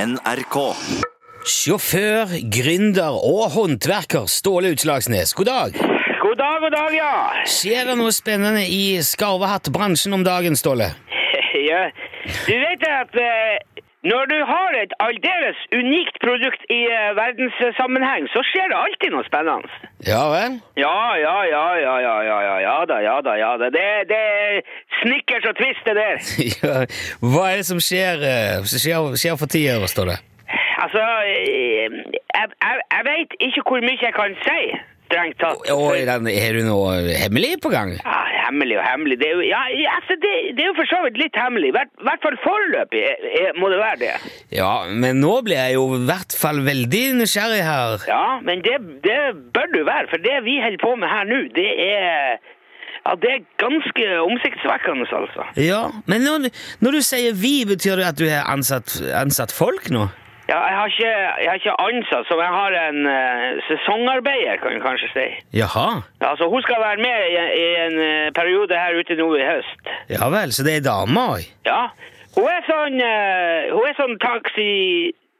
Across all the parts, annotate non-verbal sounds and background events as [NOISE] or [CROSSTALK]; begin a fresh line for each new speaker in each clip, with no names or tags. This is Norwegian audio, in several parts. NRK.
Sjåfør, gründer og håndverker Ståle Utslagsnes, god dag!
God dag, god dag, ja. [LAUGHS]
Skjer det noe spennende i skarvehattbransjen om dagen, Ståle?
ja. Du vet at eh, når du har et aldeles unikt produkt i eh, verdenssammenheng, så skjer det alltid noe spennende.
Ja vel?
Ja, ja, ja, ja, ja, ja, ja, ja da, ja da, ja da. Det, det er snickers og twist, det der.
Ja. Hva er det som skjer, eh, som skjer, skjer for tida, Ståle?
Altså, eh, jeg, jeg, jeg vet ikke hvor mye jeg kan si, strengt tatt.
Og er den- har du noe hemmelig på gang?
Ja, hemmelig og hemmelig. Det er jo, ja, altså, det, det er jo for så vidt litt hemmelig. I hvert, hvert fall foreløpig eh, eh, må det være det.
Ja, men nå blir jeg jo i hvert fall veldig nysgjerrig her.
Ja, men det, det bør du være, for det vi holder på med her nå, det er ja, det er ganske omsiktsvekkende, altså.
Ja, Men når, når du sier vi, betyr det at du har ansatt, ansatt folk nå?
Ja, jeg har ikke, jeg har ikke ansatt, så jeg har en eh, sesongarbeider, kan du kanskje si.
Jaha.
Altså, hun skal være med i, i en eh, periode her ute nå i høst.
Ja vel, så det er dama òg?
Ja. Hun er sånn, eh, hun er sånn taxi...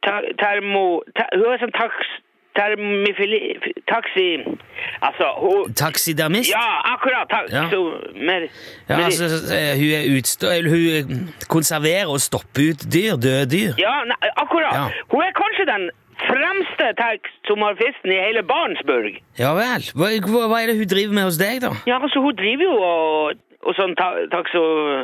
Ta, termo... Ta, hun er sånn tax... Termifili... Taxi... Altså, hun...
Taxidermist?
Ja, akkurat. Takk.
Ja.
Så, mer,
Ja,
mer-
altså, eh, hun, er utstå eller hun eh, konserverer og stopper ut dyr, døde dyr.
ja nei, akkurat.
Ja.
Hun er kanskje den fremste taxomorfisten i hele Barentsburg.
Ja vel. Hva, hva, hva er det hun driver med hos deg, da?
Ja, altså, hun driver jo og, og sånn ta,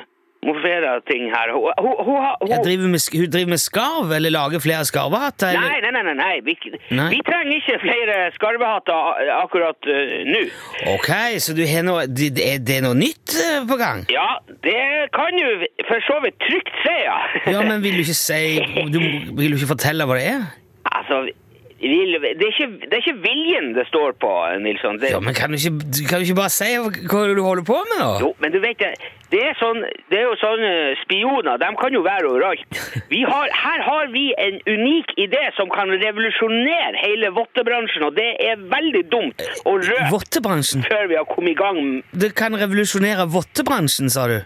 taxomorferer ting her. Hun, hun, hun, har- hun,
Jeg driver med, sk- hun driver med skarv, eller lager flere skarvehatter? eller-
Nei, nei, nei, nei, nei. Vi,
Nei.
vi trenger ikke flere skarvehatter a- akkurat eh, nå.
Ok, så du har noe, det, det er- det er noe nytt eh, på gang?
Ja, det kan du for så vidt trygt si, ja.
Ja, men vil du
[LAUGHS]
ikke si du, Vil du ikke fortelle hva det er?
Altså, vil- det, er ikke, det er ikke viljen det står på, Nilsson. Det,
Ja, men Kan du ikke, kan du ikke bare si hva du holder på med, da?
Jo, men du vet det, det er, sånn, det er jo sånne spioner, de kan jo være overalt. Vi har, her har vi en unik idé som kan revolusjonere hele vottebransjen, og det er veldig dumt å røpe
Vottebransjen.
før vi har kommet i gang.
Det kan revolusjonere vottebransjen, sa du.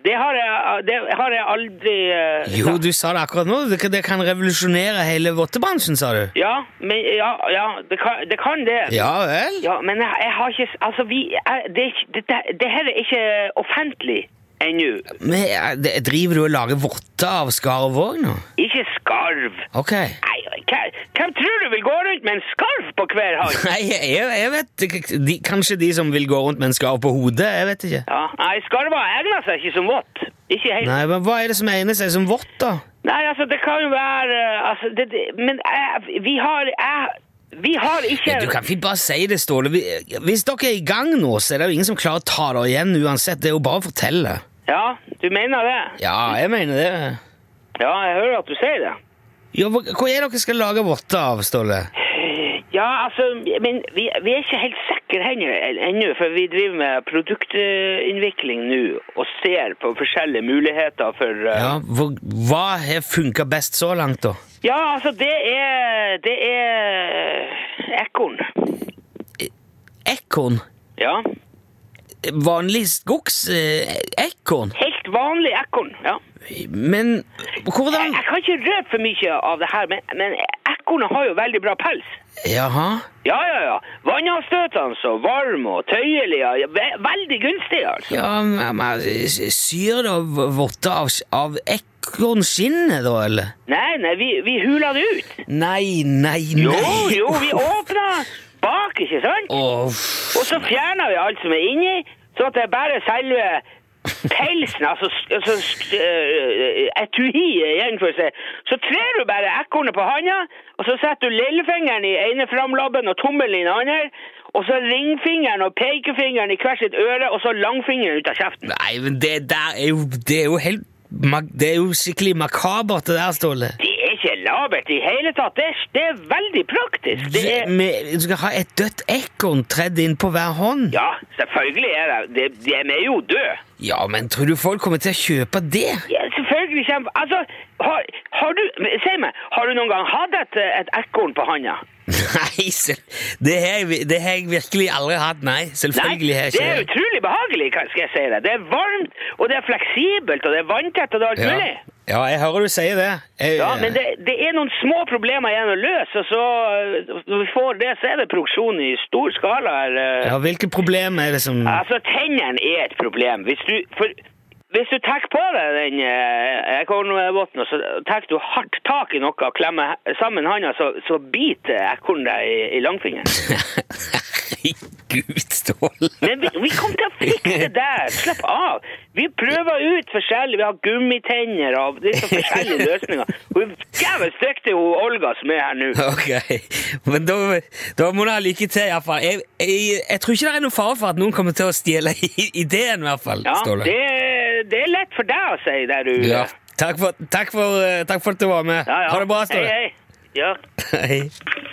Det har jeg, eh, det har jeg aldri eh,
Jo,
sagt.
du sa det akkurat nå. Det kan, det kan revolusjonere hele vottebransjen, sa du.
Ja, men, ja, ja det, kan, det kan det.
Ja vel?
Ja, men jeg, jeg har ikke Altså, vi jeg, det, er ikke- det, det her er ikke offentlig ennå.
Men eh, det- Driver du og lager votter av skarv òg nå?
Ikke skarv.
Ok.
Nei, hva- hvem tror du vil gå rundt med en skarv på hver hånd?
[LAUGHS] Nei, jeg, jeg vet ikke. de, Kanskje de som vil gå rundt med en skarv på hodet? Jeg vet ikke.
Ja, nei, skarver egner seg ikke som vått. Ikke helt. Nei.
Nei, men Hva er det som egner seg som vått, da?
altså, det kan jo være eh, altså, det, det, Men jeg, vi har jeg, Vi har ikke
Du kan ikke bare si det, Ståle. Vi- Hvis dere er i gang nå, så er det jo ingen som klarer å ta det igjen uansett. Det er jo bare å fortelle.
Ja, du mener det?
Ja, jeg mener det.
Ja, jeg hører at du sier det.
Ja, hva hva er det dere skal lage votter av, Ståle?
Ja, altså, men vi, vi er ikke helt sikre ennå- ennå, for vi driver med produktinnvikling nå og ser på forskjellige muligheter for eh,
Ja, Hva hva har funka best så langt, da?
ja, altså, det er Det er ekorn.
Ekorn?
Ja.
Vanlig eh, skogsekorn?
Helt vanlig ekorn. Ja.
Men
Jeg,
hvordan
jeg kan ikke røpe for mye av det her, men, men ekornet har jo veldig bra pels.
Jaha.
Ja, ja, ja. Vannavstøtene så varm og tøyelig. Ja. Ve- Veldig gunstig, altså.
Ja, men men syr det v- votter av, av ekornskinnet, da, eller?
Nei, nei, vi, vi hula det ut.
Nei, nei, nei.
Jo, jo, vi åpna bak, ikke sant?
Åh, f-
Og så fjerna vi alt som er inni, så at det er bare selve pelsen, altså, s- altså s- eh, etuiet igjen, for å si. Så trer du bare ekornet på handa, og så setter du lillefingeren i ene framlabben og tommelen i den andre, og så ringfingeren og pekefingeren i hvert sitt øre, og så langfingeren ut av kjeften.
nei, men det der er jo Det er jo helt ma- Det er jo skikkelig makabert, det der, Ståle.
Det er ikke labert i hele tatt. Det er, det er veldig praktisk. Det er,
Vi du skal ha et dødt ekorn tredd inn på hver hånd.
ja, selvfølgelig er det. det de er jo døde.
Ja, men tror du folk kommer til å kjøpe det? [LAUGHS]
Ja, selvfølgelig kjempe... Altså, har, har du... Si meg, har du noen gang hatt et, et ekorn på handa?
Nei, sel- det har jeg, det har jeg virkelig aldri hatt. Nei, selvfølgelig har jeg
det
ikke
er utrolig behagelig, kan- skal jeg si deg. Det er varmt, og det er fleksibelt, og det er vanntett, og det er alt
Ja.
mulig.
Ja, jeg hører du sier det. Jeg,
Ja, men det, det er noen små problemer igjen å løse, og så eh, når vi får det, så er det produksjon i stor skala. her, eh.
Ja, hvilke problemer er det som
Altså, tennene er et problem. Hvis du, for, hvis du tar på deg den eh, ekornvotten, og så tar du hardt tak i noe og klemmer he- sammen handa, så, så biter ekornet deg i, i langfingeren.
[LAUGHS] Herregud, Ståle!
Men vi, vi kommer til å fikse det der! Slapp av! Vi prøver ut forskjellig. Vi har gummitenner og litt sånn forskjellige løsninger. Hun er jævlig dyktig, hun Olga som er her nå.
Ok, men da, da må du ha lykke til, iallfall. Jeg, jeg, jeg tror ikke det er noen fare for at noen kommer til å stjele [LAUGHS] i- ideen, i hvert fall.
Ja,
Ståle.
det, det er lett for deg å si der ute.
Ja. Takk for, takk, for, eh, takk for at du var med.
Ja, ja.
Ha det bra, Ståle.
Hei, hei. Ja.
[LAUGHS] Hei.